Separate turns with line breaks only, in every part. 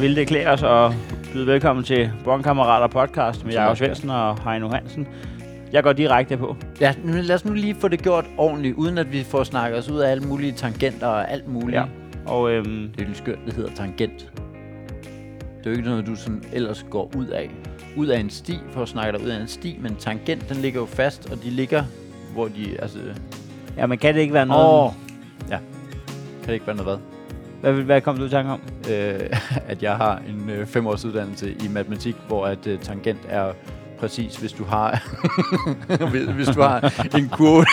ville det klæde os at byde velkommen til Bonkammerater podcast med Jakob Svendsen og Heino Hansen. Jeg går direkte på.
Ja, nu, lad os nu lige få det gjort ordentligt, uden at vi får snakket os ud af alle mulige tangenter og alt muligt. Ja.
Ja. Og øhm,
Det er lidt skørt, det hedder tangent. Det er jo ikke noget, du sådan ellers går ud af. Ud af en sti, for at snakke dig ud af en sti, men tangent, den ligger jo fast, og de ligger, hvor de, altså...
ja, men kan det ikke være noget...
Åh! Ja. Kan det ikke være noget hvad?
Hvad, hvad kom du i tanke om?
øh, at jeg har en øh, fem års uddannelse i matematik, hvor at øh, tangent er præcis, hvis du har hvis- hvis du har en kurve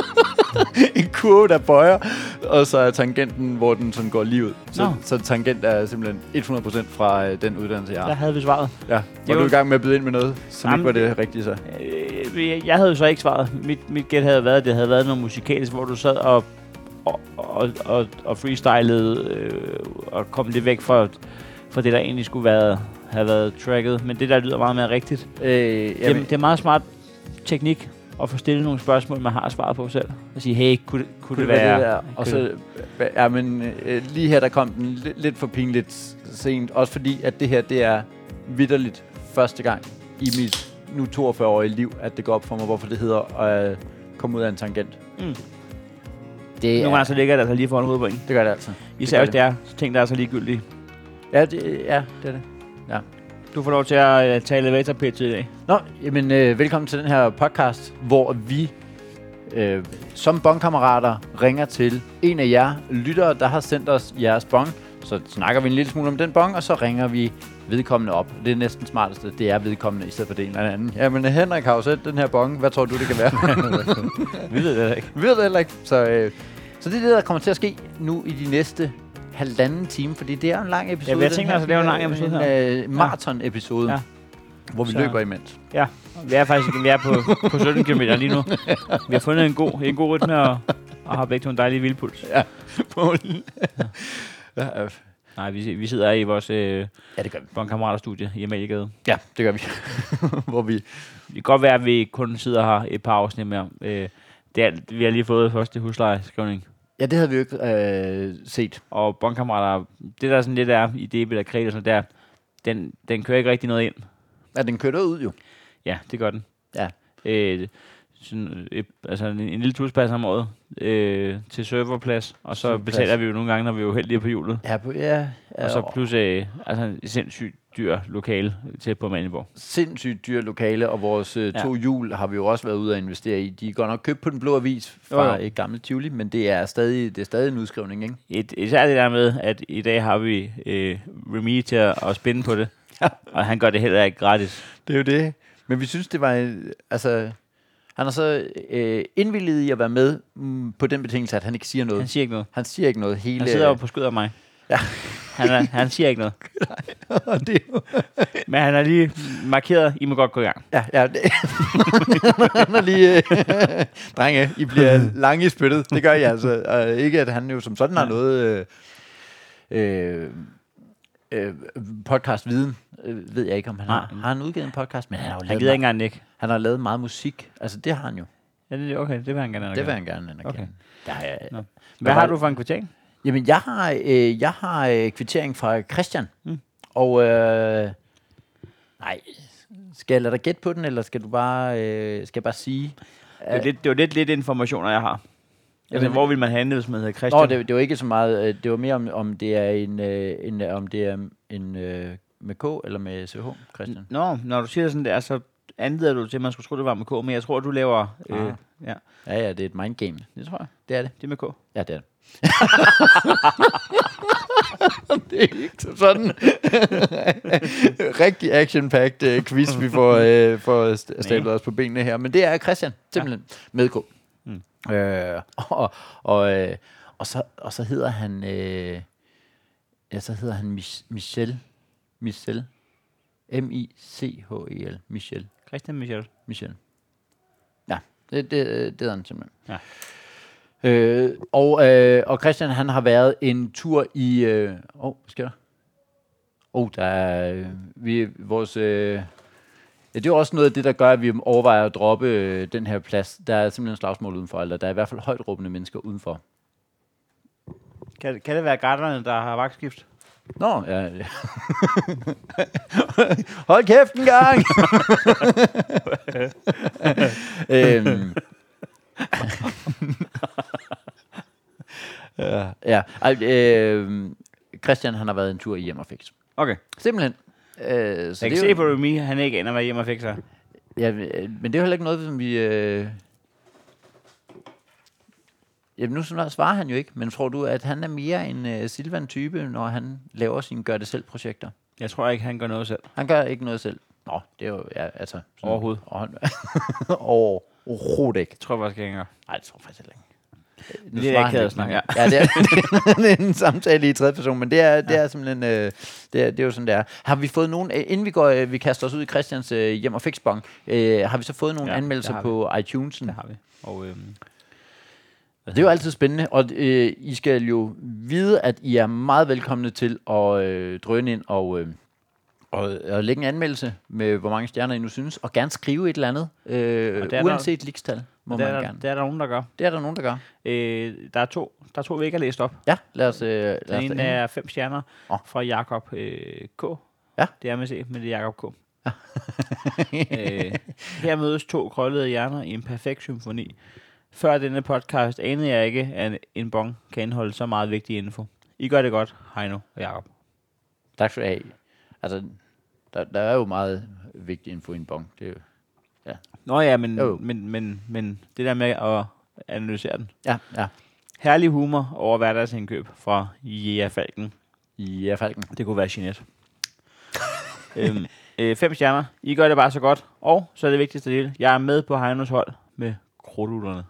en kurve, der bøjer, og så er tangenten, hvor den sådan går lige ud. Så,
Nå.
så tangent er simpelthen 100% fra øh, den uddannelse, jeg
Der
har.
havde vi svaret.
Ja. Var
Det er
du
jo-
i gang med at byde ind med noget, som
Jamen,
ikke var det rigtige så?
Øh, jeg havde jo så ikke svaret. Mit, mit gæt havde været, at det havde været noget musikalsk, hvor du sad og, og, og, og, og freestylede øh, og kom lidt væk fra, fra det, der egentlig skulle være, have været tracket. Men det der lyder meget mere rigtigt.
Øh,
Jamen. Det, det er meget smart teknik at få stillet nogle spørgsmål, man har svaret på selv. Og sige, hey, kunne, det- kunne det, det være...
det der? Og så, hva- ja, men øh, lige her, der kom den lidt, lidt for pinligt sent. Også fordi, at det her, det er vidderligt første gang i mit nu 42-årige liv, at det går op for mig, hvorfor det hedder at øh, komme ud af en tangent.
Mm.
Det,
Nogle
er,
gange så ligger det altså lige foran hovedet på en.
det gør det altså.
Især
gør
hvis det er ting, der er så ligegyldige.
Ja, det, ja, det er det.
Du får lov til at øh, tage elevator pitch i dag.
Nå, jamen, øh, velkommen til den her podcast, hvor vi øh, som bongkammerater ringer til en af jer lyttere, der har sendt os jeres bong. Så snakker vi en lille smule om den bong, og så ringer vi vedkommende op. Det er næsten smarteste, det er vedkommende i stedet for det en eller anden. Jamen, Henrik har jo sendt den her bong. Hvad tror du, det kan være?
Vi ved det ikke.
Vi ved det heller ikke. Så, øh, så det er det, der kommer til at ske nu i de næste halvanden time, fordi det er jo en lang episode.
jeg
den
tænker
her.
altså, det er jo en lang episode
En øh, maraton-episode,
Ja.
ja. hvor vi
Så-
så. løber imens.
Ja, vi er faktisk vi er på, på 17 km lige nu. Vi har fundet en god, en god rytme og, og har begge to en dejlig vildpuls.
Polen. ja, øh,
Nej, vi, vi sidder i vores øh,
ja, det gør vi.
bondkammeratstudie i Amalie
Ja, det gør vi. Hvor vi...
Det kan godt være, at vi kun sidder her et par afsnit mere. Øh, det er, vi har lige fået første huslejeskrivning.
Ja, det havde vi jo ikke øh, set.
Og bondkammerater, det der sådan lidt er i DB og kredit og sådan der, den, den kører ikke rigtig noget ind.
Ja, den kørte ud jo.
Ja, det gør den.
Ja.
Øh, sådan, øh, altså en, en lille tuspas om året øh, til serverplads, og så
Serverplads.
betaler vi jo nogle gange, når vi er uheldige på hjulet.
Ja, på, ja, ja
Og så plus øh, altså en sindssygt dyr lokale tæt på Mandeborg.
sindssygt dyre lokale, og vores øh,
Ja.
to hjul har vi jo også været ude at investere i. De er godt nok købt på den blå avis fra
Jo,
jo,
jo.
jo. et gammelt Tivoli, men det er stadig, det er stadig en udskrivning, ikke?
Et, især det der med, at i dag har vi øh, Remy til at, at spinde på det,
Ja.
og han gør det heller ikke gratis.
Det er jo det. Men vi synes, det var... øh, Altså, han har så øh, indvilliget i at være med mm, på den betingelse, at han ikke siger noget.
Han
Han,
siger ikke noget.
han siger ikke noget hele...
Han sidder jo på skødet af mig.
Ja.
Han, er, han siger ikke noget.
og det er jo
Men han har lige markeret, I må godt gå i gang.
Ja, ja. det- han er lige... Øh, drenge, I bliver lange i spyttet. Det gør jeg altså. Og ikke, at han jo som sådan har noget... Øh, øh, øh, podcast-viden, øh, ved jeg ikke, om han har.
Nej.
Har han udgivet en podcast? Men han har jo
Han
lavet,
gider ikke
meget,
engang nikke.
han har lavet meget musik. Altså, det har han jo. Okay.
Ja, det, okay, det vil han gerne.
Det vil
anerkende.
han gerne anerkende.
Okay.
Okay. Der er,
Nå. Hvad
Hvad
har
var-
du for en kvittering?
Jamen, jeg har, øh, jeg har øh, kvittering fra Christian.
Mm.
Mm. Og, øh, nej, skal jeg lade dig gætte på den, eller skal du bare, øh, skal jeg bare sige?
Det er jo lidt, det er jo lidt, lidt informationer, jeg har. Altså,
Jamen-
hvor vil man handle, hvis man hedder Christian?
Nå, det, det var ikke så meget, øh, det var mere om, om det er en, øh, en om det er en øh, med K eller med CH, Christian.
Nå, når du siger det sådan der, så anleder du til, at man skulle tro, det var med K, men jeg tror, du laver... Øh,
Ah.
ja,
Ja, ja, det er et mindgame.
det tror jeg.
Det er det.
Det er med K.
Ja, det er det. det er ikke som sådan rigtig action-packed øh, quiz, vi får, øh, får st- stablet os på benene her. Men det er Christian, simpelthen, med K. Mm. Øh, og, og, øh, og, så, og så hedder han... Øh, ja, så hedder han Mich- Michel. Michel. M-I-C-H-E-L. Michel.
Christian Michel.
Michel. Ja, det, det, det hedder han simpelthen.
Ja.
Øh, og, øh, og Christian, han har været en tur i... Åh, øh, oh, hvad sker der? Åh, oh, der er... øh, Vi, vores, øh, ja, det er jo også noget af det, der gør, at vi overvejer at droppe øh, den her plads. Der er simpelthen slagsmål udenfor, eller der er i hvert fald højt råbende mennesker udenfor.
Kan, kan det være garderne, der har vagtskift?
Nå, ja. ja. Hold kæft en gang! øhm. ja, ja. Ej, øhm, Christian, han har været en tur i hjem og fix.
Okay.
Simpelthen. Øh, så
Jeg
det
kan
er
se
jo,
på Remy, han ikke aner, hvad hjemme og fik sig.
ja, øh, men det er jo heller ikke noget, som vi... Øh... Jamen, nu sådan- svarer han jo ikke, men tror du, at han er mere en øh, Silvan-type, når han laver sine gør-det-selv-projekter?
Jeg tror ikke, han gør noget selv.
Han gør ikke noget selv. Nå, det er jo, ja, altså... Sådan,
Overhovedet.
Og han- Overhovedet ikke.
Jeg tror faktisk ikke, han gør.
Nej, det tror jeg faktisk heller ikke. Nu
Det er
svarer
ikke
han
kædet
ikke.
snak, ja.
ja det, er, det er en samtale i tredje person, men det er, det er simpelthen, øh, det, er, det er jo sådan, det er. Har vi fået nogen, øh, inden vi går, øh, vi kaster os ud i Christians øh, hjem og fixbong, øh, har vi så fået nogle
Ja,
ja,
det
anmeldelser
har vi.
på iTunesen?
har vi. Og, øhm,
Det er jo altid spændende, og øh, I skal jo vide, at I er meget velkomne til at øh, drøne ind og, øh, og, og lægge en anmeldelse med, hvor mange stjerner I nu synes, og gerne skrive et eller andet, øh,
Og det er der-
uanset der, likstal, må
det,
man
er der,
gerne.
det er der nogen, der gør.
Det er der nogen, der gør.
Øh, der, er to, der er to, vi ikke har læst op.
Ja, lad os... Øh, lad os
Den ene
da-
er fem stjerner
Åh.
fra Jakob øh, K.
Ja.
Det er med C, men det er Jakob K. øh, her mødes to krøllede hjerner i en perfekt symfoni. Før denne podcast anede jeg ikke, at en bong kan indeholde så meget vigtig info. I gør det godt, Heino og Jakob.
Tak skal du have. Altså, der, der er jo meget vigtig info i en bong. Det er jo,
Nå ja, men,
Jo.
men, men, men det der med at analysere den.
ja, ja.
Herlig humor over hverdagsindkøb fra Jea Falken.
Ja, Falken.
Det kunne være Jeanette. øhm, øh, fem stjerner. I gør det bare så godt. Og så er det vigtigste del. Jeg er med på Heinos hold med krudtlutterne.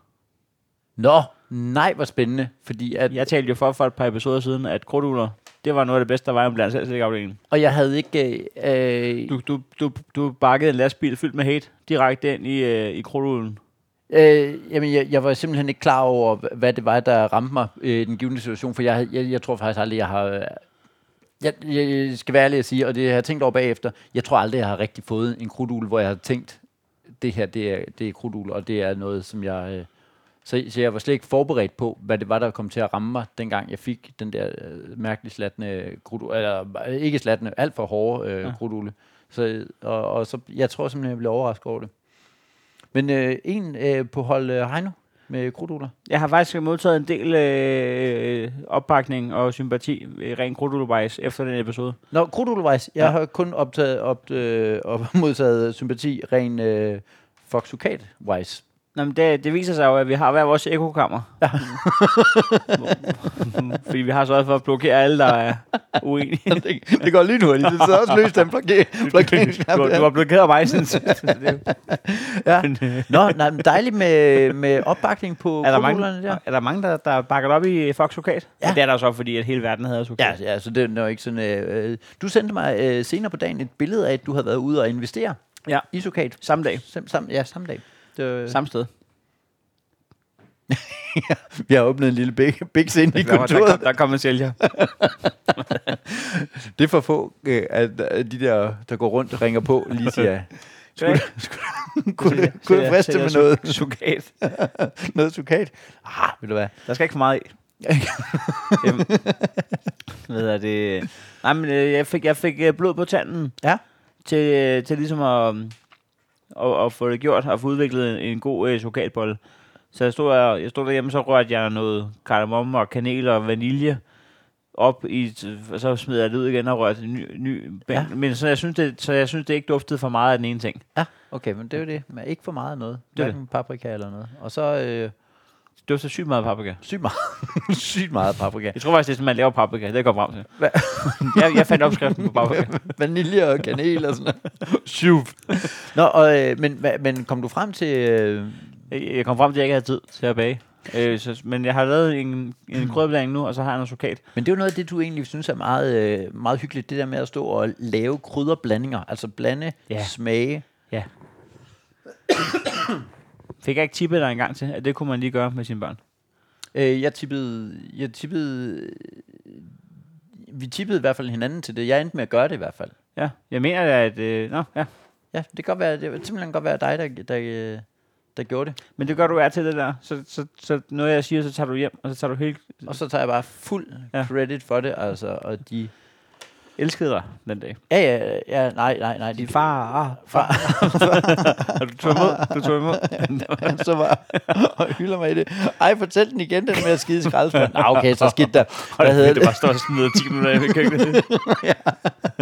Nå, nej, hvor spændende, fordi at,
Jeg talte jo for, for et par episoder siden, at krudtlutter, det var noget af det bedste, der var i blandt selv afdelingen.
og jeg havde ikke... Øh,
Du, du, du, du bakkede en lastbil fyldt med hate direkte ind i, øh, i krudtlutten.
Øh, jamen, jeg, jeg var simpelthen ikke klar over, hva- hvad det var, der ramte mig øh, i den givende situation, for jeg, havde- jeg, jeg tror faktisk aldrig, jeg har... øh, Jeg, jeg skal være ærlig at sige, og det har jeg tænkt over bagefter, jeg tror aldrig, jeg har rigtig fået en krudul, hvor jeg har tænkt, det her, det er, det er krudul, og det er noget, som jeg... Øh, så, så jeg var slet ikke forberedt på, hvad det var, der kom til at ramme mig, dengang jeg fik den der øh, mærkeligt slattende krudul, eller øh, ikke slattende, alt for hårde øh,
Ja.
ja. krudule. Så, og, og så, jeg tror simpelthen, jeg blev overrasket over det. Men øh, en øh, på hold øh, Heino med krudtugler.
Jeg har faktisk modtaget en del øh, opbakning og sympati øh, rent krudtlutter efter den episode.
Nå, krudtuglevejs. Jeg
Ja.
ja. har kun optaget, op, øh, op, modtaget sympati ren øh, foxukat-wise.
Nå, men det, det viser sig jo, at vi har hver vores ekokammer. Ja. Fordi vi har sørget for at blokere alle, der er uenige.
det, det går lynhurtigt. Det er også løst den blokering.
Du, du har blokeret mig siden sidst. så det er jo-
ja. Nå, nej, men dejligt med, med opbakning på
Er der mange,
krudtuglerne der.
er der, mange der, der bakker op i Fox Sokat? Ja.
Ja.
Det er der så, fordi at hele verden havde Sokat.
Ja, ja, så det er jo ikke sådan... Øh, øh, du sendte mig øh, senere på dagen et billede af, at du havde været ude og investere
Ja.
i sukat.
Samme dag.
Sam, sam, ja, samme dag. Det, var-
Samme sted.
vi har åbnet en lille big, big scene
Der,
i
var, der,
kontoret.
kom, der kom en sælger.
Det er for få, øh, at øh, de der, der går rundt, ringer på, lige siger, skulle, skulle, kunne,
Sælger-
det- kunne det
sælger-
friste
sælger
med noget,
su- Sokat.
noget sukat? Ah, ved du hvad?
Der skal ikke for meget i. Øhm, Hvad er det? Nej, men øh, jeg fik, jeg fik øh, blod på tanden.
Ja.
Til, øh, til ligesom at, mm, at, at, få det gjort, at få udviklet en, en god øh, sukatbolle. Så jeg stod, jeg, jeg stod derhjemme, så rørte jeg noget kardemomme og kanel og vanilje op i, et- og så smed jeg det ud igen og rørte en ny, ny ja.
Ja.
men så jeg, synes, det, så jeg synes, det ikke duftede for meget af den ene ting.
Ja, okay, men det er jo det. Man ikke for meget af noget.
Det er det.
Hverken paprika eller noget. Og så øh,
Det duftede sygt meget af paprika.
sygt meget, sygt meget paprika.
Jeg tror faktisk, det er sådan, man laver paprika. Det kommer frem til.
Hva?
jeg, jeg fandt opskriften på paprika.
Vanilje og kanel og sådan noget. Syv. Nå, og, øh, men, hva- men kom du frem til... Øh,
Jeg jeg kom frem til, at jeg ikke havde tid til at bage. Øh, så, men jeg har lavet en, en krydderblanding nu, og så har jeg noget sukat.
Men det er jo noget af det, du egentlig synes er meget, øh, meget hyggeligt, det der med at stå og lave krydderblandinger, altså blande,
Ja.
ja. smage.
Ja. Fik jeg ikke tippet dig en gang til, at det kunne man lige gøre med sine børn?
Øh, jeg tippede, jeg tippede, øh, vi tippede i hvert fald hinanden til det. Jeg endte med at gøre det i hvert fald.
Ja, jeg mener da, at... Øh, nå, ja.
Ja, det kan godt være, det kan simpelthen godt være dig, der, der, øh, der gjorde det.
Men det gør du er til det der. Så, så, så når jeg siger, så tager du hjem, og så tager du helt...
Og så tager jeg bare fuld
Ja.
ja. credit for det, altså, og de
elskede dig den dag.
Ja, ja, ja, nej, nej, nej.
Din
De,
far, ah, far. Har du tog imod? Du tog imod?
så var og hylder mig i det. Ej, fortæl den igen, den med at skide i skraldespanden. Nå, okay, så skidt der. Hvad hedder det?
var stort smidt 10 minutter af i køkkenet.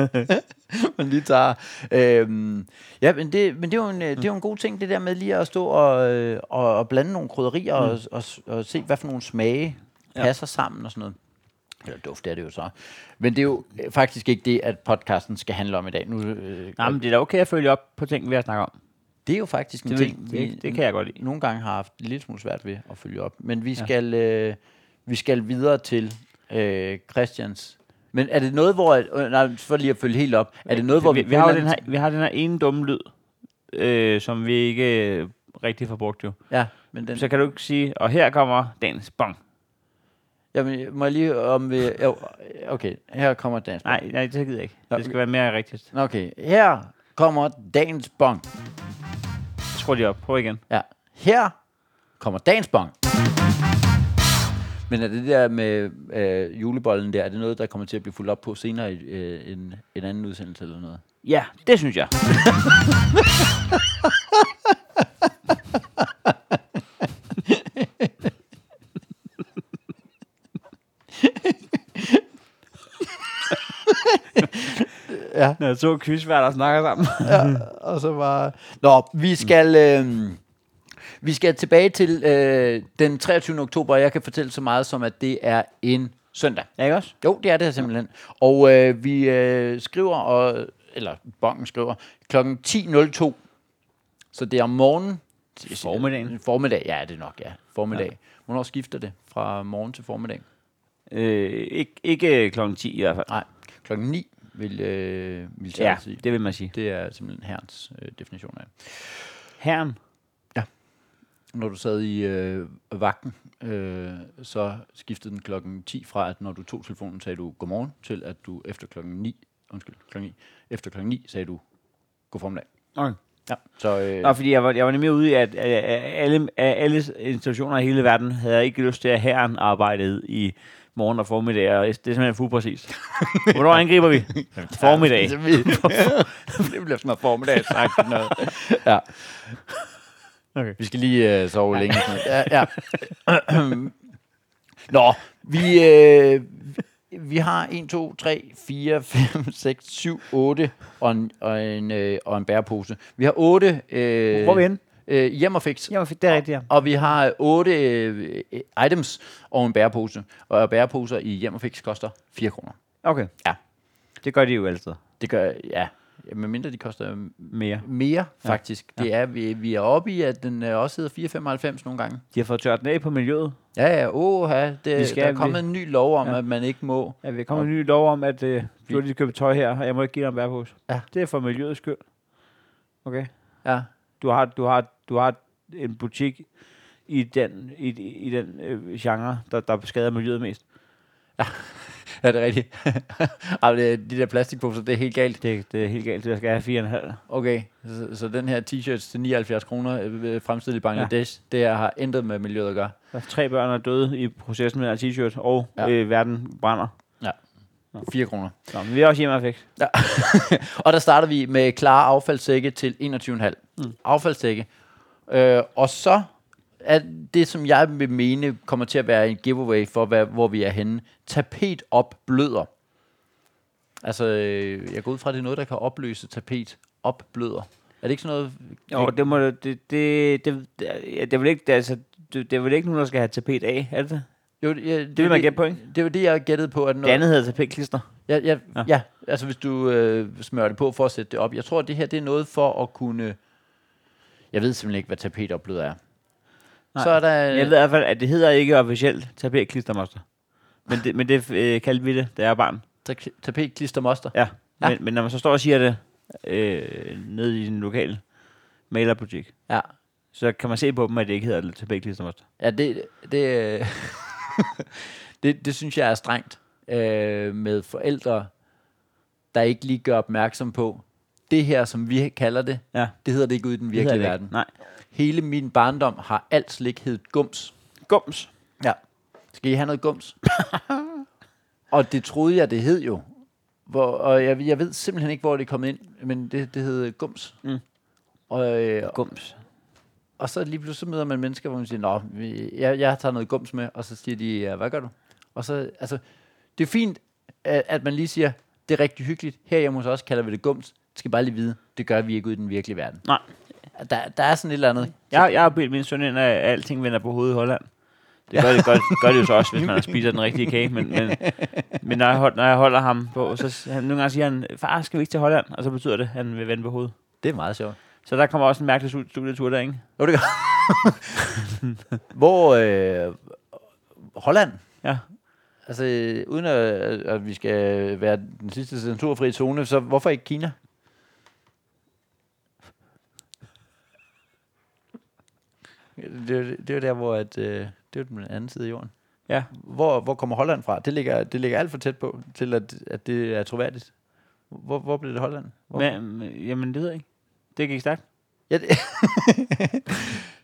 man lige tager. Øhm, ja, men det, men det er, jo en, øh, det er jo en god ting, det der med lige at stå og, øh, og, og blande nogle krydderier mm. og, og, og se, hvad for nogle smage ja. passer sammen og sådan noget. Eller duft er det jo så. Men det er jo øh, faktisk ikke det, at podcasten skal handle om i dag. Nu, øh,
Nej, men det er da okay at følge op på ting, vi har snakket om.
det er jo faktisk en
Det,
ting,
det, det, det kan jeg godt lide.
nogle gange har haft en lille smule svært ved at følge op. Men vi skal, øh, vi skal videre til øh, Christians. Men er det noget, hvor... øh, Nej, for lige at følge helt op. Er det noget, hvor
vi, vi, har jo den her, vi har den her ene dumme lyd, øh, som vi ikke øh, rigtig får brugt jo.
Ja, men den...
Så kan du ikke sige, og her kommer dagens bong.
Jamen, må jeg lige om vi... Jo, okay, her kommer dagens
Nej, nej, det gider jeg ikke.
Nå,
Det skal
vi-
være mere rigtigt.
bong. Okay, her kommer dagens bong.
Skru lige op. Prøv igen.
Ja, her kommer dagens bong. Men er det der med øh, julebollen der, er det noget, der kommer til at blive fuldt op på senere i øh, en, en anden udsendelse eller noget?
Ja, det synes jeg.
Ja.
Når jeg så quizværd, der snakker sammen.
og så bare... Nå,
Mm.
vi skal... Øh, vi skal tilbage til øh, den 23. oktober, og jeg kan fortælle så meget som, at det er en søndag.
Ja, ikke også?
Jo, det er det her simpelthen. Og øh, vi øh, skriver, og, eller bongen skriver, kl. 10.02. Så det er om morgenen. Øh,
Formiddagen.
Formiddag, ja, det er nok, ja. Formiddag. Ja. Hvornår skifter det? Fra morgen til formiddag?
Øh, ikke, ikke klokken 10 i hvert fald.
Nej, kl. 9 vil, øh, vil jeg
Ja,
sige.
det vil man sige.
Det er simpelthen herrens øh, definition af.
Herren.
Når du sad i øh, vagten, øh, så skiftede den klokken 10 fra, at når du tog telefonen, sagde du godmorgen, til at du efter klokken 9, undskyld, klokken 9, efter klokken 9 sagde du god formiddag.
Okay.
Ja. Så, øh,
Nå, fordi jeg var, jeg var nemlig ude i, at, at, at alle, at alle institutioner i hele verden havde ikke lyst til, at herren arbejdede i morgen og formiddag, og det er simpelthen fuldt præcist. Hvornår angriber vi? Formiddag.
det bliver sådan noget formiddag sagt. Noget. Ja.
Okay.
Vi skal lige øh, sove længe. og sådan noget. Ja, ja. Nå, vi, øh, vi har 1, 2, 3, 4, 5, 6, 7, 8 og en, og en, øh, og en bærepose. Vi har 8... Øh,
Hvor er vi henne?
Øh, hjem og fix.
Jamen, det er rigtigt, ja.
Og vi har 8 øh, items og en bærepose. Og bæreposer i hjem og fix koster 4 kroner.
Okay.
Ja.
Det gør de jo altid.
Det gør, ja, medmindre de koster
Mere.
mere, faktisk. Ja. Det er, vi, vi er oppe i, at den øh, også hedder 4,95 nogle gange.
De har fået tørt den af på miljøet.
Ja, ja, oha, det,
skal-
skal, der er kommet en ny lov om, ja. at man ikke må.
Ja, vi kommer en ny lov om, at øh, du har lige købt tøj her, og jeg må ikke give dig en bærepose.
Ja.
Det er for miljøets skyld. Okay.
Ja,
Du har, du har, du har en butik i den, i, i den øh, genre, der, der skader miljøet mest.
ja det er rigtigt. Ej, det, de der plastikposer, det er helt galt.
Det, det er helt galt, det skal jeg have 4,5.
Okay, så, så den her t-shirt til 79 kroner øh, øh, fremstillet i Bangladesh, ja. det her har intet med miljøet at gøre.
Der er tre børn, der er døde i processen med den her t-shirt, og
Ja.
ja. øh, verden brænder.
4 kroner.
Nå, men vi er også hjemme og fik.
Og der starter vi med klare affaldssække til 21,5. Mm. Affaldssække. Øh, og så er det, som jeg vil mene, kommer til at være en giveaway for, hvad, hvor vi er henne. Tapet opbløder. Altså, øh, jeg går ud fra, at det er noget, der kan opløse tapet opbløder. Er det ikke sådan noget...
Jo, det må det, det, det, det, ja, det er vel ikke, det, er altså, det, det er vel ikke nogen, der skal have tapet af, er det det?
Jo, det, ja, det,
vil
er
man
det-
gætte på, ikke?
Det var det, jeg gættede på. At
Det andet hedder tapetklister.
Ja, ja, ja.
Ja.
ja, altså hvis du øh, smører det på for at sætte det op. Jeg tror, det her det er noget for at kunne... Jeg ved simpelthen ikke, hvad tapetopbløder er. Nej.
Nej.
Så er der... øh,
Jeg ved i hvert fald, at det hedder ikke officielt tapetklistermoster. Men det, men det øh, kaldte vi det, da jeg var barn.
Ta- tapetklistermoster.
Ja.
Ja.
ja. Men, men når man så står og siger det øh, nede i sin lokale malerbutik,
Ja.
så kan man se på dem, at det ikke hedder tapetklistermoster.
Ja, det... Det, øh, det, det synes jeg er strengt øh, med forældre, der ikke lige gør opmærksom på, det her, som vi kalder det,
Ja. det
det hedder det ikke ude i den
hedder
virkelige
det ikke.
verden.
Nej.
Hele min barndom har alt slik heddet gums.
Gums.
Ja. Skal I have noget gums? og det troede jeg, det hed jo. Hvor, og jeg, jeg ved simpelthen ikke, hvor det er kommet ind, men det, det hed Gums.
Mm.
Og, øh,
Gums.
og så lige pludselig så møder man mennesker, hvor man siger, Nå, vi, jeg, jeg tager noget gums med, og så siger de, ja, hvad gør du? Og så, altså, det er fint, at, at man lige siger, det er rigtig hyggeligt. Her hjemme hos os kalder vi det gums. Det skal bare lige vide, det gør vi ikke ude i den virkelige verden.
Nej.
Der, der er sådan et eller andet.
Jeg, jeg har bildt min søn ind, at alting vender på hovedet i Holland. Det gør det, gør, gør det jo så også, hvis man spiser den rigtige kage, men, men, men når, jeg holder, når jeg holder ham på, så s- han, nogle gange siger han, far, skal vi ikke til Holland? Og så betyder det, at han vil vende på hovedet.
Det er meget sjovt.
Så der kommer også en mærkelig stu- studietur der, ikke?
Jo, det gør. Hvor øh, Holland,
Ja.
altså øh, uden at, at vi skal være den sidste censurfri zone, så hvorfor ikke Kina? Det, er- det er der, hvor at, øh, det er den anden side af jorden.
Ja.
Hvor, hvor kommer Holland fra? Det ligger, det ligger alt for tæt på, til at, at det er troværdigt. Hvor, hvor blev det Holland? Hvor?
Men, øh, jamen, det ved jeg ikke. Det gik stærkt.
Ja, det,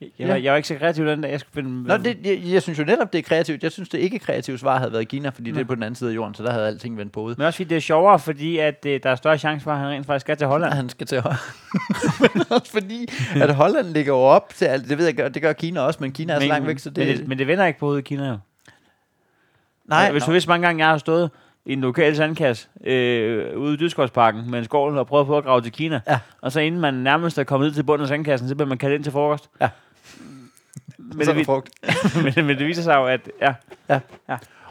Jeg, jeg, var, jeg var ikke så kreativ den dag, jeg skulle finde...
Nå, det, jeg, jeg synes jo netop, det er kreativt. Jeg synes, det ikke kreative svar havde været Kina, fordi
Nå.
det er på den anden side af jorden, så der havde alting vendt på hovedet.
Men også fordi det er sjovere, fordi at, øh, der er større chance for, at han rent faktisk skal til Holland.
Han skal til Holland. men også fordi, at Holland ligger jo op til alt. Det ved jeg godt, det gør Kina også, men Kina er så langt væk, så det...
Men det, men det vender ikke på hovedet i Kina, jo.
nej,
Nej, hvis du vidste, hvor mange gange jeg har stået i en lokal sandkasse øh, ude i Dyskovsparken med en skål og prøvet på at grave til Kina.
Ja.
Og så inden man nærmest er kommet ned til bunden af sandkassen, så bliver man kaldt ind til frokost.
Ja.
Men
men så
det,
er det
vi-
frugt.
men, men det viser sig jo, at ja,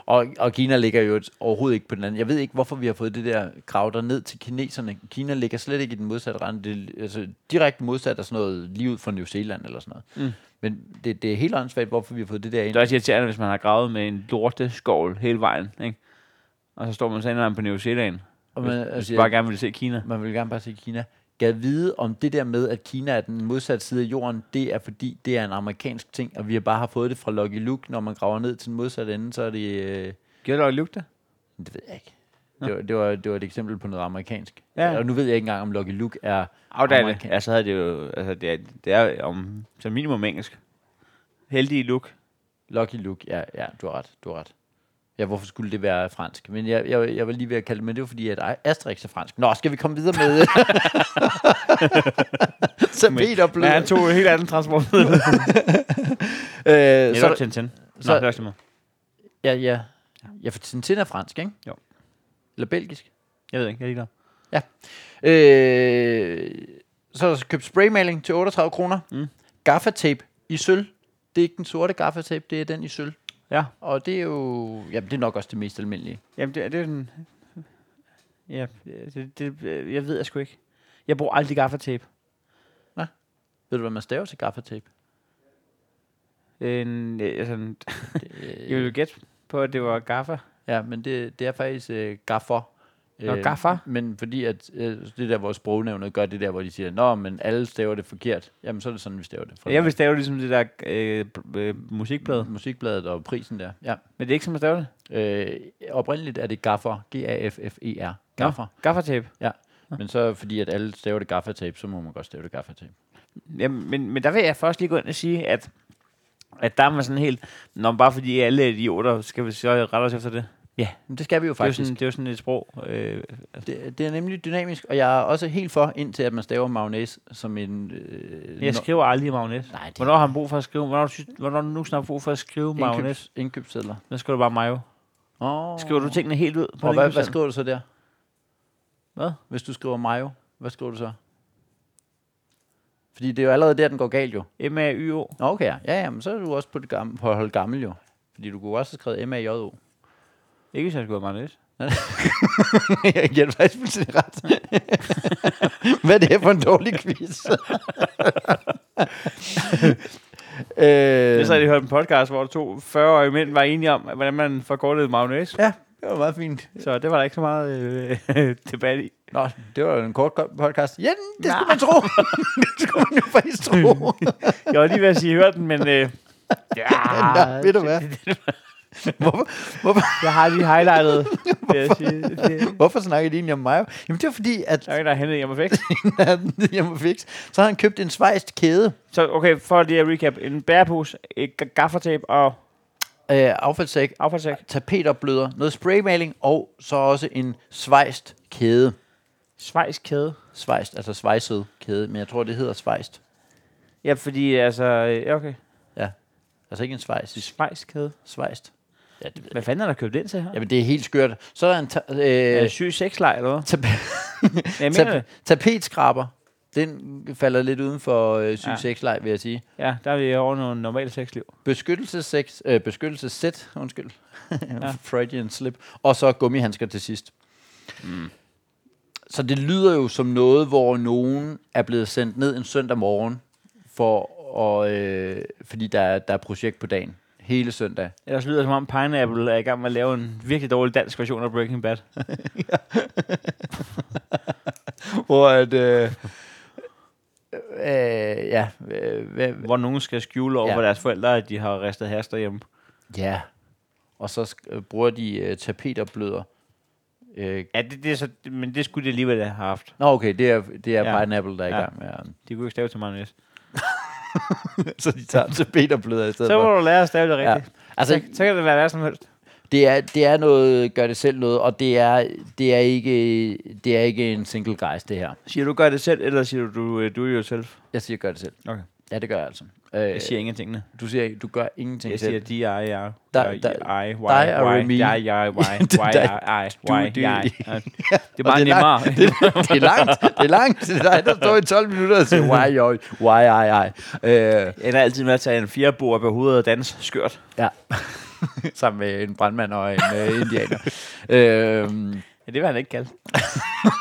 Og, og Kina ligger jo et- overhovedet ikke på den anden. Jeg ved ikke, hvorfor vi har fået det der krav der ned til kineserne. Kina ligger slet ikke i den modsatte rende. Det, er altså, direkte modsat er sådan noget lige ud fra New Zealand eller sådan
Mm.
noget. Men det, det er helt åndssvagt, hvorfor vi har fået det der ind.
det er også irriterende, hvis man har gravet med en lorteskål hele vejen. Ikke? Og så står man så indlandet på New Zealand,
Og
hvis,
man-
hvis
altså,
du
jeg-
bare gerne vil se Kina.
Man vil gerne bare se Kina. Gad vide om det der med, at Kina er den modsatte side af jorden, det er fordi, det er en amerikansk ting, og vi har bare har fået det fra Lucky Luke. Når man graver ned til den modsatte ende, så er det... Øh,
Gjorde det lugte?
det ved jeg ikke. Det var, det, var, det var et eksempel på noget amerikansk.
Ja.
Ja. Og nu ved jeg ikke engang, om Lucky Luke er...
Afdale.
Amerika-
Ja, så havde det jo, altså det er, det er om, som minimum engelsk. Heldige look.
Lucky Luke, ja, ja du har ret, du har ret. Ja, hvorfor skulle det være fransk? Men jeg, jeg, jeg var lige ved at kalde det, men det var fordi, at Asterix er fransk. Nå, skal vi komme videre med... så
Men-
Peter
Men han
blev...
tog en helt anden transport. så,
Øh, så,
Tintin. Nå,
så-
det er også lige meget.
Ja, ja. Ja, for Tintin er fransk, ikke?
Jo.
Eller belgisk.
Jeg ved ikke, jeg er ligeglad.
Øh, så har jeg købt spraymaling til 38 kroner.
Mm.
Gaffatape i sølv. Det er ikke den sorte gaffatape, det er den i sølv.
Ja.
Og det er jo... Jamen, det er nok også det mest almindelige.
Jamen, det, det er den... Ja, det, det, jeg ved jeg sgu ikke. Jeg bruger aldrig gaffatape.
Ved du, hvad man staver til gaffatape?
En, altså,
Det,
jeg ville gætte på, at det var gaffa.
Ja, men det, det er faktisk øh, gaffer. Øh,
Nå, gaffer?
Men fordi at øh, det der, hvor sprognævnet gør det der, hvor de siger, nå, men alle staver det forkert. Jamen, så er det sådan, vi staver det. Fra
Jeg vil stave ligesom det der øh, b- øh, musikblad.
Musikbladet og prisen der. Ja.
Men det er ikke som at stave det.
Øh, oprindeligt er det gaffer, G-A-F-F-E-R, E gaffer.
Gaffatape.
Ja. Men så fordi, at alle staver det gaffatape, så må man godt stave det gaffatape.
Jamen, men, men der vil jeg først lige gå ind og sige, at, at der er man sådan helt... Nå, men bare fordi alle er idioter, skal vi så rette os efter det.
Men det skal vi jo
Faktisk. Det er jo
faktisk.
sådan, det er jo sådan et sprog. Øh,
Det, det er nemlig dynamisk, og jeg er også helt for, indtil at man staver mayonnaise som en... Øh,
jeg skriver aldrig magnet.
Nej, det er
Hvornår har han brug for at skrive? Hvornår, synes, hvornår har du nu snart brug for at skrive magnet?
indkøbs, indkøbssedler.
Nu skriver du bare mayo.
Oh.
Skriver du tingene helt ud på
Og
din
hvad, hvad
hvad,
skriver du så der?
hvad?
Hvis du skriver mayo, hvad skriver du så? Fordi det er jo allerede der, den går galt jo.
M-A-Y-O.
Nå, okay, ja. ja, ja, men så er du også på, det gamle, på at holde gammel jo. Fordi du kunne også have skrevet M-A-J-O.
Ikke hvis jeg skriver magnet.
jeg giver dig faktisk fuldstændig ret. Hvad er det her for en dårlig quiz?
Det
øh,
så jeg lige hørt en podcast, hvor to 40-årige mænd var enige om, hvordan man forkortede mayonnaise.
ja, det var meget fint.
Så det var der ikke så meget øh, debat i.
Nå, det var jo en kort ko- podcast. Ja, det skulle man tro. det skulle man jo faktisk tro.
Jeg var lige ved at sige, hør den, men... Øh, ja,
Nå, ved du hvad? Hvorfor, hvorfor,
Jeg har lige highlightet, vil jeg sige. Det, der
hvorfor snakker de egentlig om mig? Jamen, det var fordi, at
er ikke, der er hentet hjemme væk.
jeg må fikse. Så har han købt en svejst kæde.
Så okay, for lige at recap. En bærepose, et ga- gaffatape og
øh, affaldssæk,
Affaldssæk.
tapetopbløder, noget spraymaling og så også en svejst kæde.
Schweiz kæde.
Svejst, altså svejset kæde, men jeg tror, det hedder svejst.
Ja, fordi altså... øh, Ja, okay.
Altså ikke en svejs,
Schweiz kæde.
svejst. Ja, det ved jeg.
Hvad fanden er der købt ind til her?
Jamen, det er helt skørt. Så er der en ta-
Er
øh,
det syg sexlej, eller hvad?
tap-
Jeg mener
tap-
det.
tapetskraber. Den falder lidt uden for øh, syg sexleg, vil jeg sige.
Ja, der er vi over nogle normale sexliv.
Beskyttelsessex, øh, beskyttelsessæt, undskyld. Freudian slip. Og så gummihandsker til sidst. Mm. Så det lyder jo som noget, hvor nogen er blevet sendt ned en søndag morgen, for og, øh, fordi der er, der er projekt på dagen. Hele søndag.
Ellers lyder det, som om Pineapple er i gang med at lave en virkelig dårlig dansk version af Breaking Bad.
Hvor at... Øh, øh, ja, øh, hvad,
Hvor nogen skal skjule over
Ja.
ja. for deres forældre, at de har ristet has derhjemme.
ja. Og så sk- øh, bruger de øh, tapeterbløder. Øh,
Ja, det, det er så, men det skulle de alligevel have haft.
nå, okay, det er, det er
Ja.
ja. Pineapple, der er
Ja.
i gang med. at-
De kunne ikke stave til mayonnaise.
så de tager tapeterbløder i stedet
Så
for.
må du lære at stave det rigtigt. Ja. Altså,
Altså,
så, så kan det være hvad som helst.
det er, det er noget, gør det selv noget, og det er, det er, ikke, det er ikke en single guys, det her.
Siger du gør det selv, eller siger du du øh, do it yourself?
Jeg siger, gør det selv.
Okay.
Ja, det gør jeg altså. Øh,
Jeg siger ingentingene.
du siger ikke, du gør ingenting
Jeg
selv.
siger di i r
Der-
i
der-
i y
dig og
y
Remy.
di i y y
Dig-
i
du-
y
du-
i. Ja. Det er
Og
bare
det er
nemmere.
langt. Det, det, er langt. Det er langt. Det er dig, der står i 12 minutter og siger, why, why, why, why, why. Øh,
Jeg ender altid med at tage en firebord på hovedet og danse skørt.
ja. Sammen med en brandmand og en øh, indianer. øh,
Ja, det vil han ikke kalde.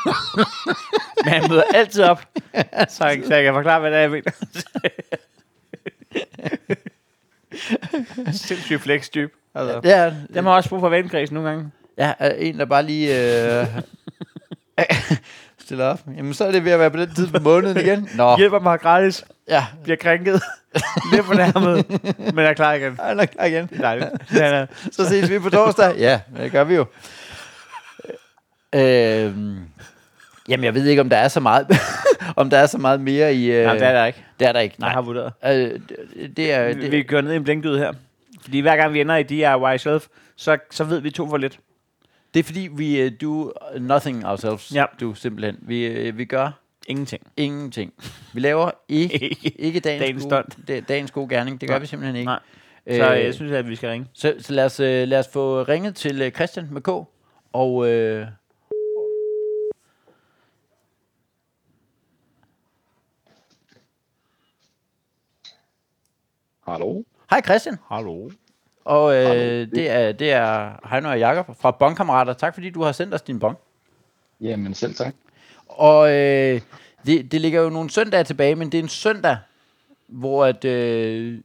Men han møder altid op, så, jeg- så jeg kan forklare, hvad det er, jeg mener. Sindssygt flex-typ. Altså.
ja,
Den har også brug for vennekredsen nogle gange.
Ja, øh, en, der bare lige øh, stiller op. Jamen, så er det ved at være på den tid på måneden igen. Nå,
Hjælper mig gratis,
ja.
bliver krænket, lidt fornærmet, men er klar igen.
Han er klar igen.
Det er dejligt. Han er,
Så ses vi på torsdag. Ja, det gør vi jo. Øhm, jamen, jeg ved ikke, om der er så meget, om der er så meget mere i... Øh,
nej, det er der ikke.
det er der ikke.
Nej. Jeg har vurderet.
Øh, det, det er...
Vi,
Det,
vi kører ned i en blinkdyde her. Fordi hver gang vi ender i DIY Self, så, så ved vi to for lidt.
det er fordi, vi øh, do nothing ourselves.
Ja.
Du simpelthen. Vi, øh, vi gør
Ingenting.
ingenting. Vi laver ikke,
Ikke
ikke dagens,
dagens
gode,
stunt.
da, dagens gode gerning. Det gør
Nej.
vi simpelthen ikke.
Nej.
Øh,
Så jeg synes, at vi skal ringe.
Så, så lad, os, øh, lad os få ringet til øh, Christian med K. Og øh,
Hallo?
hej Christian.
Hallo?
Og øh, det er, det er Heino og Jakob fra Bongkammerater. Tak fordi du har sendt os din bong.
Jamen selv tak.
Og øh, det, det ligger jo nogle søndage tilbage, men det er en søndag, hvor at, øh,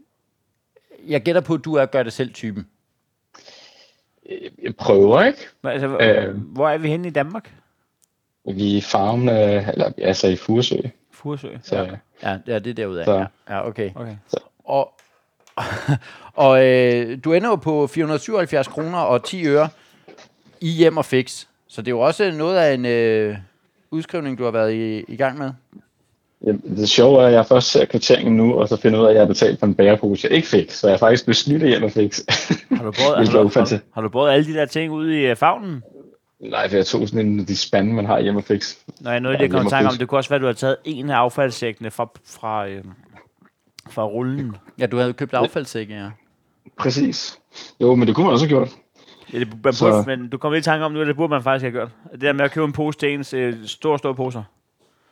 jeg gætter på, at du er gør-det-selv-typen.
Øh, Jeg prøver, ikke?
Hva- Altså, øh.
Øh.
Hvor er vi henne i Danmark?
Vi er farmen, øh, eller altså i Furesø,
Furesø.
så ja.
Ja, ja det er derudad.
Så.
Ja, ja okay.
Okay.
Og, og øh, du ender jo på 477 kroner og 10 øre i hjem og fix. Så det er jo også noget af en øh, udskrivning, du har været i, i gang med.
Jamen, det sjove er, at jeg først ser kvitteringen nu, og så finder ud af, at jeg har betalt for en bærepose, jeg ikke fik. Så jeg er faktisk blevet snydt af hjem og fik.
Har du båret, har
Hvilket er
du, har, du,
ufantastisk.
har du båret alle de der ting ude i uh, favnen?
Nej, for jeg tog sådan en af de spande, man har hjemme og fik.
Når jeg nåede lige
Ja,
at komme i
hjemme
tanke om,
hos.
det kunne også være, at du har taget en af affaldssækkene fra, fra, øh, fra rullen.
Ja, du havde købt affaldssække, ja.
Præcis. Jo, men det kunne man også have gjort.
Ja, det, man
Så-
burde, men du kom lige i tanke om nu, at det burde man faktisk have gjort. Det der med at købe en pose til ens øh, store, store poser.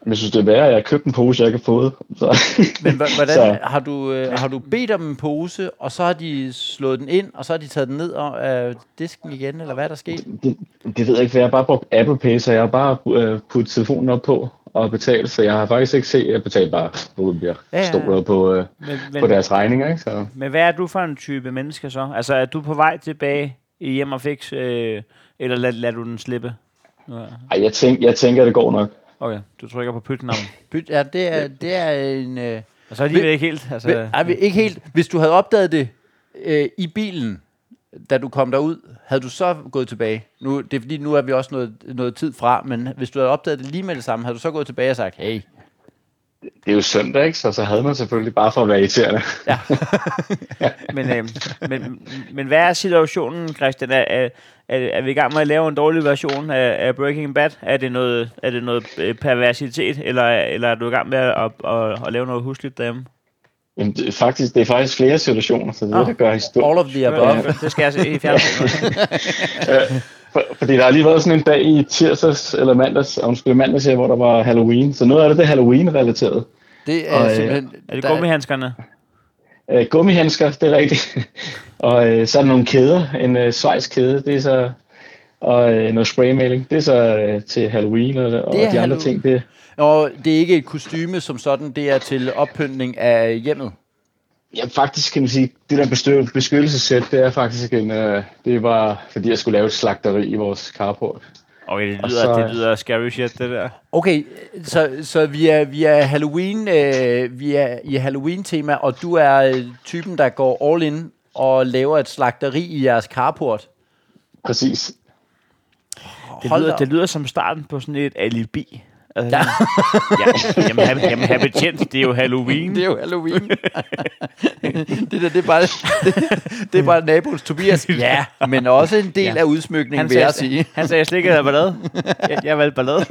Men jeg synes, det er værre, at jeg købte en pose, jeg ikke har fået. Så.
Men hva- hvordan
Så.
har du, øh, har du bedt om en pose, og så har de slået den ind, og så har de taget den ned og øh, disken igen, eller hvad er der sket?
Det, det ved jeg ikke, for jeg har bare brugt Apple Pay, så jeg har bare øh, puttet telefonen op på og betalt, så jeg har faktisk ikke set, jeg betalte bare, hvor jeg
Ja, ja, ja.
stoler på, øh,
Men,
på
men,
deres regninger, ikke? Så,
men hvad er du for en type menneske så? Altså, er du på vej tilbage i hjem og fix, øh, eller lad, lad du den slippe? Ja.
ej, jeg, tænk, jeg tænker, det går nok.
Okay, du trykker på pytnavn.
Byt- Ja, det er, det er en... Øh,
Og så er de ikke helt... Altså,
Hva- Ej, vi- ikke helt. Hvis du havde opdaget det øh, i bilen, da du kom derud, havde du så gået tilbage? Nu, det er fordi, nu er vi også noget, noget tid fra, men hvis du havde opdaget det lige med det samme, havde du så gået tilbage og sagt, hey,
det er jo søndag, ikke? Så så havde man selvfølgelig bare for at være irriterende.
Men, øh, men, men hvad er situationen, Christian? Er, er, er, er vi i gang med at lave en dårlig version af, af Breaking Bad? Er det noget, er det noget øh, perversitet, eller, eller er du i gang med at, at, at, at lave noget husligt derhjemme?
Jamen, det, er faktisk, det er faktisk flere situationer, så det er
Ah.
det, der gør historien.
All of the above.
Øh, Det skal jeg se i fjernsynet.
For, fordi der har lige været sådan en dag i tirsdags, eller mandags, undskyld, mandags her, hvor der var Halloween. Så noget af det, det er Halloween-relateret.
Det
Og,
er
øh,
simpelthen...
Er det
der-
gummihandskerne?
Øh, gummihandsker, det er rigtigt. og øh, så er der nogle kæder. En øh, svejskæde, det er så... Og øh, noget spraymaling, det er så øh, til Halloween og, og
Det
de
er
andre
Halloween.
ting. Det,
Nå, det er ikke et kostyme som sådan, det er til oppyntning af hjemmet.
ja, faktisk kan man sige, det der bestø- beskyttelsessæt, det er faktisk en... Øh, det var, fordi jeg skulle lave et slagteri i vores carport.
Okay, det
Og
lyder,
så-
det lyder scary shit, det der.
Okay, så, så vi er, vi er Halloween, øh, vi er i Halloween-tema, og du er øh, typen, der går all in og laver et slagteri i jeres carport.
Præcis.
Det
Hold da
lyder,
op.
det lyder som starten på sådan et alibi. Altså, ja. jamen, jamen, have- jamen, have betjent, det er jo Halloween.
Det er jo Halloween. det, der, det, er bare, det, det er bare naboens Tobias. Ja, men også en del
Ja.
af udsmykningen,
han,
vil jeg
sagde,
sige.
han sagde, jeg slet ikke havde ballade. Jeg, jeg valgte ballade.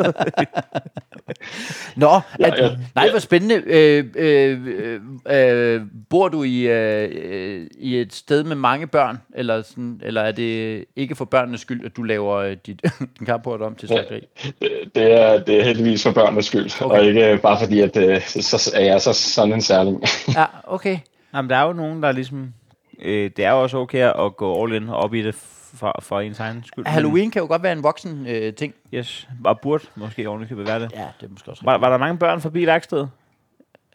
Nå, at,
ja.
nej, hvor spændende. Øh, øh, øh, øh, bor du i, øh, øh, i et sted med mange børn, eller, sådan, eller er det ikke for børnenes skyld, at du laver øh, dit, din carport om til slagteri?
Det- Det er, det er heldigvis for børnenes skyld, okay. og ikke øh, bare fordi, at øh, så så er jeg så sådan en særling.
Ja, okay.
jamen, der er jo nogen, der ligesom... Øh, det er jo også okay at gå all in op i det for, for ens egen skyld. men-
Halloween kan jo godt være en voksen øh, ting.
Yes, og burde måske ovenikøbet være det.
Ja, det er måske også
Var, var der mange børn forbi værkstedet?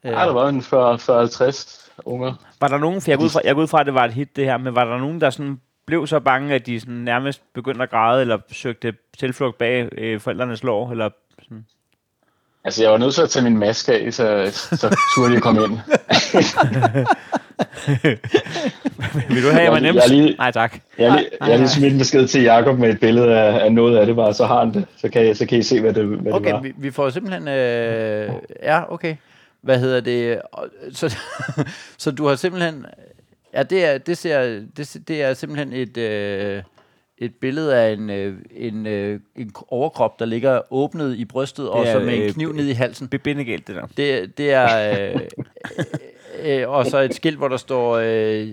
Ja. Har der været en 40-50 unger?
Var der nogen, for jeg går ud fra, jeg går ud fra, at det var et hit det her, men var der nogen, der sådan blev så bange, at de sådan nærmest begyndte at græde, eller søgte tilflugt bag øh, forældrenes lår, eller sådan.
Altså, jeg var nødt til at tage min maske af, så, så turde jeg komme ind.
Vil du have
Jeg-
mig nemt?
jeg lige-
Nej, tak.
Jeg, har lige- jeg har lige smidt en besked til Jakob med et billede af, af noget af det bare, så har han det. Så kan, I- så kan I se, hvad det, hvad det
Okay,
var.
vi, vi får simpelthen... Øh, ja, okay. Hvad hedder det? Og- Så, så du har simpelthen... Ja, det er, det, ser, det, ser- det er simpelthen et, øh, et billede af en, øh, en, øh, en overkrop, der ligger åbnet i brystet, og
er,
så med en
øh,
kniv ned i halsen.
Bebindegalt, det der.
Det, det er... Øh, øh, og så et skilt, hvor der står... Øh,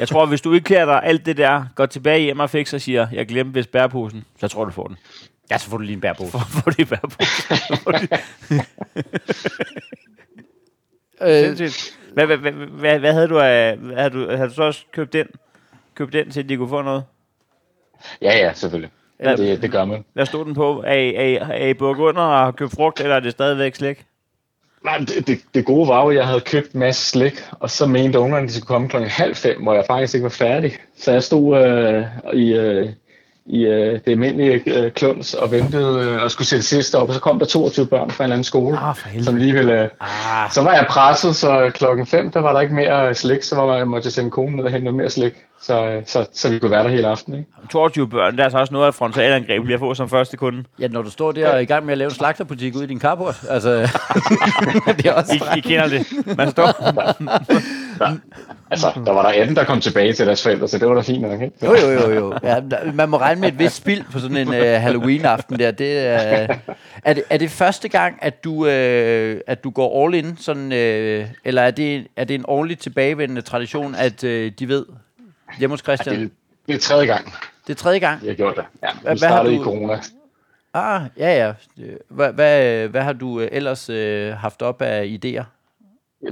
Jeg tror, hvis du ikke klæder dig alt det der, går tilbage hjem og fikser og siger, jeg glemte vist bæreposen, så tror du, du får den.
ja, så får du lige en bærbose.
Hvor får de bæreposen?
Øh,
Sindssygt. Hvad, hvad, hvad, hvad, hvad havde du af... hvad Havde du, havde du så også købt den? Købt den, til de kunne få noget?
Ja, ja, selvfølgelig.
Ja.
Det, det gør man.
Hvad stod den på? Er I, er I, er I bukket under og har købt frugt, eller er det stadigvæk slik?
Nej, men det, det, det gode var jo, at jeg havde købt en masse slik, og så mente ungerne, at de skulle komme klokken halv fem, hvor jeg faktisk ikke var færdig. Så jeg stod øh, i, øh, i øh, det almindelige øh, kluns og ventede øh, og skulle sætte sidste op, og så kom der 22 børn fra en eller anden skole,
Ah, for helvede.
som lige ville... Øh,
Ah,
så var jeg presset, så klokken 5, der var der ikke mere øh, slik, så var jeg, måtte jeg sende konen ned og hente noget mere slik, så, øh, så, så vi kunne være der hele aftenen. Ikke?
22 børn, der er så også noget af frontalangreb, vi har fået som første kunde.
ja, når du står der og er i gang med at lave en slagterbutik ude i din carport, altså... det er også
I, I kender det. Man står...
Altså, der var der 18, der kom tilbage til deres forældre, så det var da fint nok, ikke?
Mm. Jo, jo, jo, jo. Ja, der- man må regne med et vist spild på sådan en øh, Halloween-aften der. Det, øh, er, det, er det første gang, at du, øh, at du går all in? Sådan, øh, eller er det, er det en årligt tilbagevendende tradition, at øh, de ved hjemme hos Christian?
Det, det er tredje gang,
Det er tredje gang.
jeg har gjort det. Ja,
Hvad-
vi
hvad har
startede i
du-
corona.
Ah, ja, ja. Hvad, hvad, hvad har du øh, ellers øh, haft op af idéer?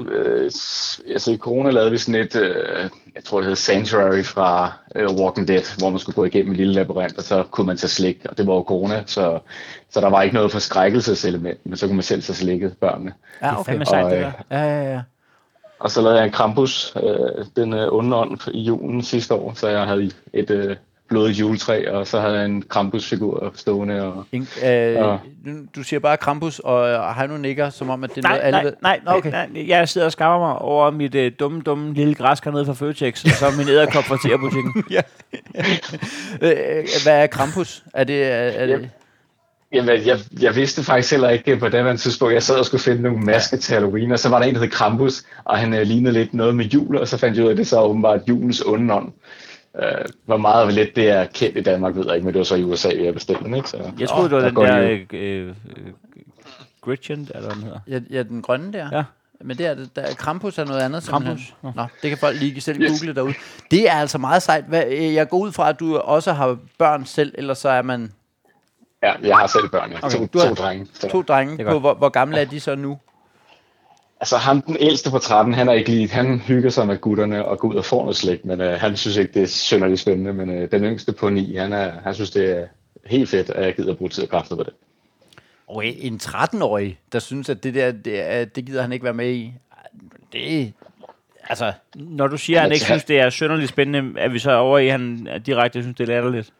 Øh, s- altså i corona lavede vi sådan et, øh, jeg tror det hed Sanctuary fra øh, Walking Dead, hvor man skulle gå igennem en lille labyrint, og så kunne man tage slik, og det var jo corona, så, så der var ikke noget forskrækkelseselement, men så kunne man selv tage slikket børnene.
Ja,
Okay.
Ah, okay.
Fandme sejt, det
Og,
der.
øh,
Ja, ja, ja.
Og så lavede jeg en Krampus, øh, den øh, onde ånd i julen sidste år, så jeg havde et øh, blodigt juletræ, og så havde jeg en Krampus-figur stående, og
En,
Ja.
øh, nu- du siger bare Krampus, og øh, Heino nikker, som om, at det er noget,
Nej,
alle
nej,
ved.
nej,
Nå,
nej, nej, jeg sidder og skammer mig over mit øh, dumme, dumme lille græs hernede fra Føtex, og så min æderkop fra terbutikken.
Øh, øh, hvad er Krampus? Er det, er, er det?
Jamen, jeg, jeg vidste faktisk heller ikke øh, på daværende tidspunkt. Jeg sad og skulle finde nogle masker til Halloween, og så var der en, der hed Krampus, og han øh, lignede lidt noget med jul, og så fandt jeg ud af, at det så åbenbart julens ondenånd. Øh, hvor meget lidt det er kendt i Danmark, ved jeg ikke, men det var så i USA, vi har bestilt den, ikke? Så,
Jeg troede, det var
der
den
går
der
lige.
øh, øh, øh, Gretchen, eller hvad den hedder.
Ja, ja den grønne der.
Ja.
Men det er, det- der er Krampus er noget andet. simpelthen.
Krampus,
Nå, det kan folk lige selv
Yes.
google derude. Det er altså meget sejt. Hvad, øh, jeg går ud fra, at du også har børn selv, eller så er man
Ja, jeg har selv børn, ja.
Okay,
Okay, to,
du har-
to drenge. Så.
to drenge
er
på.
godt.
Hvor, hvor gamle er de så nu?
Altså ham, den ældste på 13, han er ikke lige, han hygger sig med gutterne og går ud og får noget slik, men øh, han synes ikke, det er synderligt spændende, men øh, den yngste på 9, han, er, han synes, det er helt fedt, at jeg gider at bruge tid og kræfter på det.
Okay, øh, en 13-årig, der synes, at det der, det, er, det gider han ikke være med i. Ej, Det, altså,
Når du siger, at han ikke synes, det er synderligt spændende, er vi så over i, at han direkte synes, det er latterligt?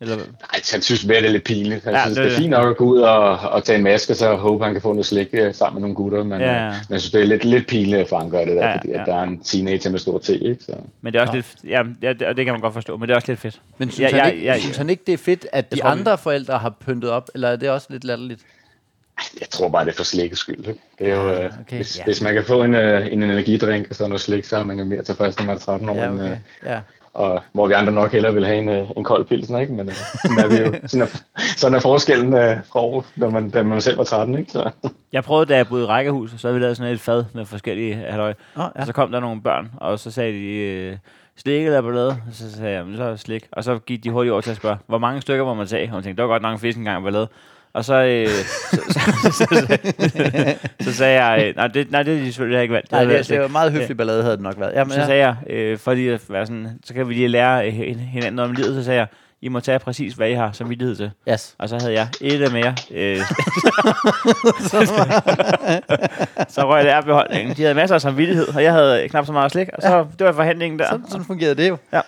Eller hvad?
Nej, han synes mere, det er lidt pinligt. Han
Ja,
ja, synes,
det er
det er
det.
fint nok at gå ud og, og tage en maske, så håbe, han kan få noget slik øh, sammen med nogle gutter, men,
Ja,
ja,
ja.
ja. men jeg synes, det er lidt, lidt pinligt, for han gør det der,
Ja,
ja,
ja,
fordi
ja.
at der er en teenager med stor T, ikke? Så.
Men det er også lidt, ja, ja, det, og det kan man godt forstå, men det er også lidt fedt.
men synes, ja,
ja,
han ikke, ja, ja. synes han ikke, det er fedt, at de
tror, vi-
andre forældre har pyntet op? Eller er det også lidt latterligt?
Jeg tror bare, det er for slikkes skyld. Ikke? Det er jo, øh,
okay,
okay, hvis,
ja.
ja. hvis man kan få en, øh, en energidrink og sådan noget slik, så er man jo mere tilfreds, når man er 13 år.
Ja,
end, øh,
okay. Ja.
og hvor vi andre nok hellere vil have en, øh, en kold pilsner, ikke? Men øh, sådan, er vi jo, sådan, er, sådan er forskellen øh, fra år, da man, da man selv var 13, ikke? Så,
Jeg prøvede, da jeg boede i rækkehus, og så havde vi lavet sådan et fad med forskellige halløj.
Nå, ja.
Og så kom der nogle børn, og så sagde de, øh, slik eller ballade? Og så sagde jeg, "Men så er det slik. Og så gik de hurtigt over til at spørge, hvor mange stykker må man tage? Og hun tænkte, det var godt nok en fisk engang ballade. Og så, øh, så, så, så, så, så, sagde jeg, øh, nej, det, nej, det er de selvfølgelig ikke valgt.
Nej,
havde været
det, det
slik."
var meget høflig ballade, havde det nok været. Ja, men,
Så
ja.
sagde jeg, øh, fordi at være sådan, så kan vi lige lære øh, hinanden noget om livet, så sagde jeg, I må tage præcis, hvad I har samvittighed til.
Yes.
Og så havde jeg et af mere. Øh, så røg det af beholdningen. De havde masser af samvittighed, og jeg havde knap så meget slik. Og så, det var forhandlingen der.
Sådan, sådan fungerede det jo.
Ja.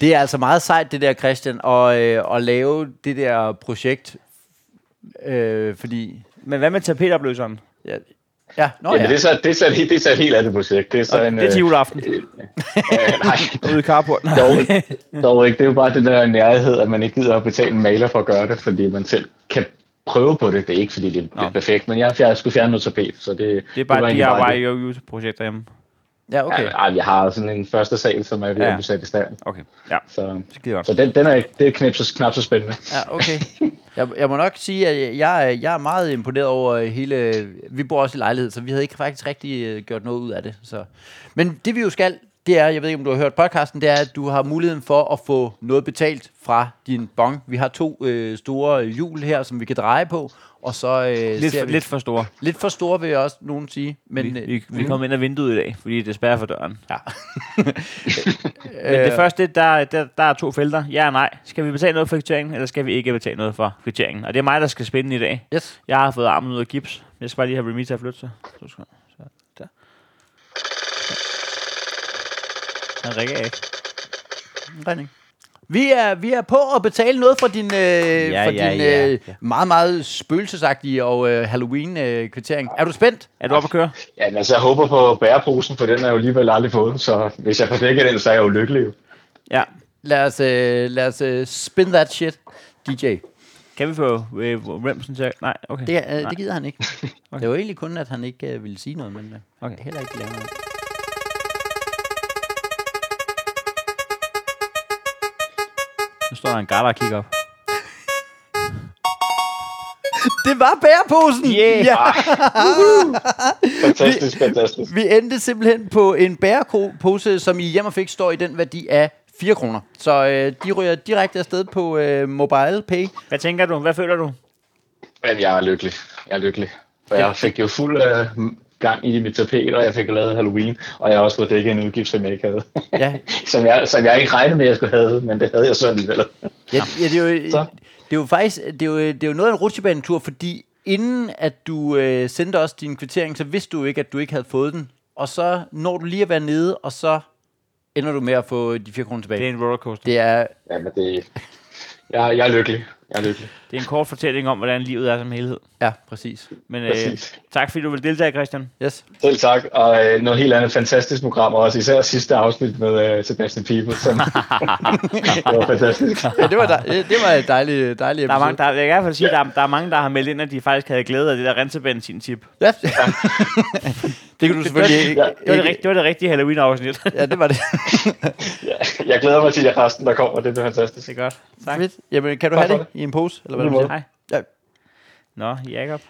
Det er altså meget sejt, det der, Christian, at, øh, at lave det der projekt, øh, fordi...
Men hvad med tapetopløseren?
Ja, ja, nå
Jamen,
ja.
det, er så, det, er så, et helt- det er så et helt andet projekt. Det er, så en,
Det er til
øh,
juleaften
øh, nej,
ude i carporten.
Dog ikke. Dog ikke. Det er jo bare det der nærhed, at man ikke gider at betale en maler for at gøre det, fordi man selv kan prøve på det. Det er ikke, fordi det er
Nå.
Nå. perfekt, men jeg, jeg skulle fjerne noget tapet, så det,
Det er bare et
egentlig det.
DIY-projekt derhjemme.
Ja, okay.
Ja, ej, jeg har sådan en første sal, som er ved at
Ja.
blive sat i stand.
Okay, ja.
Så,
Skide godt.
så den, den er, ikke- det er knap så, knap så spændende.
Ja, okay. Jeg, jeg må nok sige, at jeg, jeg er meget imponeret over hele... Vi bor også i lejlighed, så vi havde ikke faktisk rigtig øh, gjort noget ud af det. Så. Men det vi jo skal, det er, jeg ved ikke om du har hørt podcasten, det er, at du har muligheden for at få noget betalt fra din bong. Vi har to øh, store hjul her, som vi kan dreje på, og så øh,
Lidt,
ser
for,
vi...
lidt for store.
lidt for store, vil jeg også nogen sige. Men,
Vi,
øh,
vi,
Mhm.
vi kom ind ad vinduet i dag, fordi det spærrer for døren.
Ja.
Men det første, der, der, der er to felter. Ja og nej. Skal vi betale noget for kvitteringen, eller skal vi ikke betale noget for kvitteringen? Og det er mig, der skal spænde i dag.
Yes.
Jeg har fået armen ud af gips. Jeg skal bare lige have Remy til at flytte sig. Så skal så der. Han ringer ikke.
Regning. Vi er, vi er på at betale noget for din, øh, ja, for
ja,
din
ja,
øh,
ja.
meget, meget spøgelsesagtige og øh, Halloween-kvittering. er du spændt?
Er du oppe at køre?
Ja, men altså, jeg håber på bæreposen, for den er jo alligevel aldrig fået, så hvis jeg får dækket den, så er jeg jo lykkelig. jo.
Ja.
Lad os, øh, lad os øh, spin that shit, DJ.
Kan vi få øh, Remsen til at- Nej, okay.
Det, øh,
Nej.
det gider han ikke. okay. Det var egentlig kun, at han ikke øh, ville sige noget, men øh,
Okay.
okay. heller ikke lave noget.
Nu står der en garter og kigger op.
Det var bæreposen!
Yeah.
Ja,
Fantastisk, fantastisk.
vi endte simpelthen på en bærepose, som i hjem og fik står i den værdi af 4 kroner. Så øh, de ryger direkte afsted på øh, mobile pay.
Hvad tænker du? Hvad føler du?
Men jeg er lykkelig. Jeg er lykkelig. For jeg fik jo fuld øh, gang i mit tapet, og jeg fik lavet Halloween, og jeg har også fået dækket en udgift, som jeg ikke havde.
Ja.
som, jeg, som jeg ikke regnede med, at jeg skulle have, men det havde jeg så alligevel.
Ja, ja det, er jo, det
Så.
er jo faktisk det er jo, det er jo noget af en rutsjebanetur, fordi inden at du øh, sendte os din kvittering, så vidste du ikke, at du ikke havde fået den. Og så når du lige at være nede, og så ender du med at få de 4 kroner
Det
tilbage.
er en rollercoaster.
Det er,
Ja, men det... Jeg, jeg er lykkelig. Jeg er lykkelig.
Det er en kort fortælling om, hvordan livet er som helhed.
Ja, præcis.
Men øh,
Præcis.
tak fordi du vil deltage, Christian.
Yes.
Selv tak, og øh, noget helt andet fantastisk program, og også især sidste afsnit med øh, Sebastian Pibe, som det var fantastisk.
Ja, det var, dej, det det var et dejligt, dejligt
Der er
episode.
mange, der, jeg kan i hvert fald sige, at der, er- der er mange, der har meldt ind, at de faktisk havde glæde af det der rensebenzin-tip.
Ja. det kan du selvfølgelig ikke.
Ja,
Det var det, rigt- det, var det rigtige Halloween-afsnit.
Ja, det var det.
Ja, jeg glæder mig til jer resten, der kommer, det bliver fantastisk.
det er godt. Tak.
Fedt. Jamen, kan du
Tak
have
for
det i en pose? Eller hvad
På
du
lige
siger?
måde.
Hej.
Ja.
Nå, Jacob.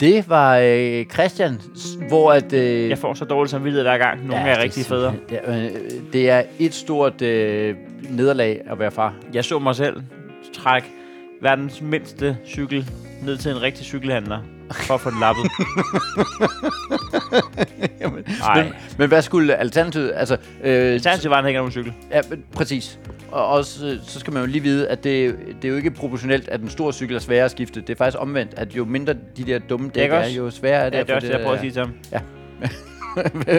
Det var øh, Christian, s- hvor at... Øh,
Jeg får så dårligt samvittighed hver gang. Nogle
Ja,
ja, er
det
rigtig federe.
simpelthen- Ja, øh, det er et stort øh, nederlag at være far.
Jeg så mig selv trække verdens mindste cykel ned til en rigtig cykelhandler for at få den lappet.
Jamen,
Ej.
men, men hvad skulle alternativet... Altså, øh,
Alternativt var, at han hænger om en cykel.
Ja, men præcis. Og også, øh, så skal man jo lige vide, at det, det er jo ikke proportionelt, at en stor cykel er sværere at skifte. Det er faktisk omvendt, at jo mindre de der dumme dæk
ikke
er,
også?
jo sværere er det.
Ja, det er
at
også
få
det, jeg prøver at
der-
sige til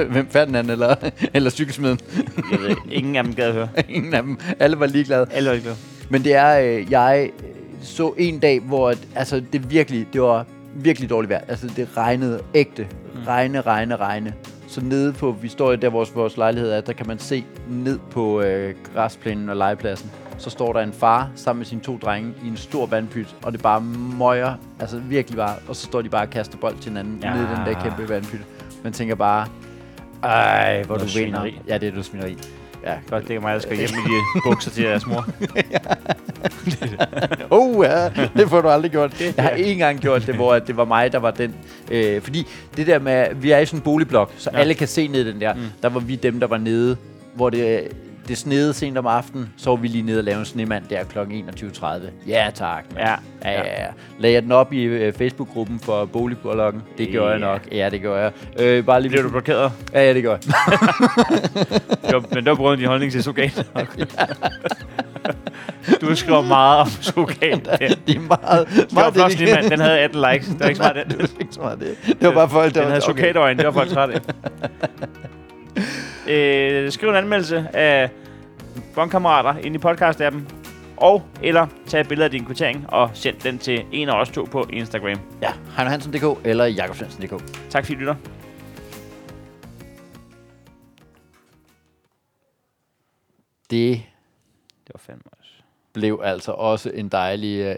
ham.
Hvem Ferdinand eller, eller cykelsmeden?
Jeg ved, ingen af dem gad at høre.
Ingen af dem. Alle var ligeglade.
Alle var ikke glade.
Men det er, øh, jeg øh, så en dag, hvor at, altså, det virkelig, det var virkelig dårligt vejr. Altså, det regnede ægte. Regne, regne, regne. Så nede på, vi står jo der, vores, vores lejlighed er, der kan man se ned på øh, græsplænen og legepladsen. Så står der en far sammen med sine to drenge i en stor vandpyt, og det bare møjer, altså virkelig bare, og så står de bare og kaster bold til hinanden ja.
Ja.
nede i den der kæmpe vandpyt. Man tænker bare, ej, hvor
Noget
du vinder.
svineri.
Ja, det er du svineri. Ja,
Godt, det er mig, der skal hjem i de bukser til jeres mor.
Oh ja, det får du aldrig gjort. Jeg har ikke engang gjort det, hvor at det var mig, der var den. Øh, fordi det der med, at vi er i sådan en boligblok, så ja. alle kan se ned i den der. Mm. Der var vi dem, der var nede, hvor det, det snede sent om aftenen. Så var vi lige nede og lave en snemand der kl. 21.30. Ja tak. mand.
Ja.
Ja, ja, ja. Lagde jeg den op i øh, Facebook-gruppen for boligblokken? Det gjorde jeg
Ja.
nok. Ja, det gjorde jeg. Øh, bare lige...
Bliver du blokeret?
Ja, ja, det gjorde jeg.
Det var- Men det var på grund af din holdning til sugat. Du skriver meget om sugat. Det
Det er meget...
var
meget
flot,
dedikeret.
mand. Den havde 18 likes. Det var ikke smart, den.
Det var ikke så meget det. Det var bare folk, der
Den
var-
havde sugatøjne, det var folk træt af. øh, skriv en anmeldelse af bondkammerater ind i podcast-appen, og eller tag et billede af din kvittering og send den til en af os to på Instagram.
Ja, Heino Hansen.dk eller Jakobsvensen.dk.
Tak fordi I lytter.
Det
Det var fandme også.
blev altså også en dejlig øh,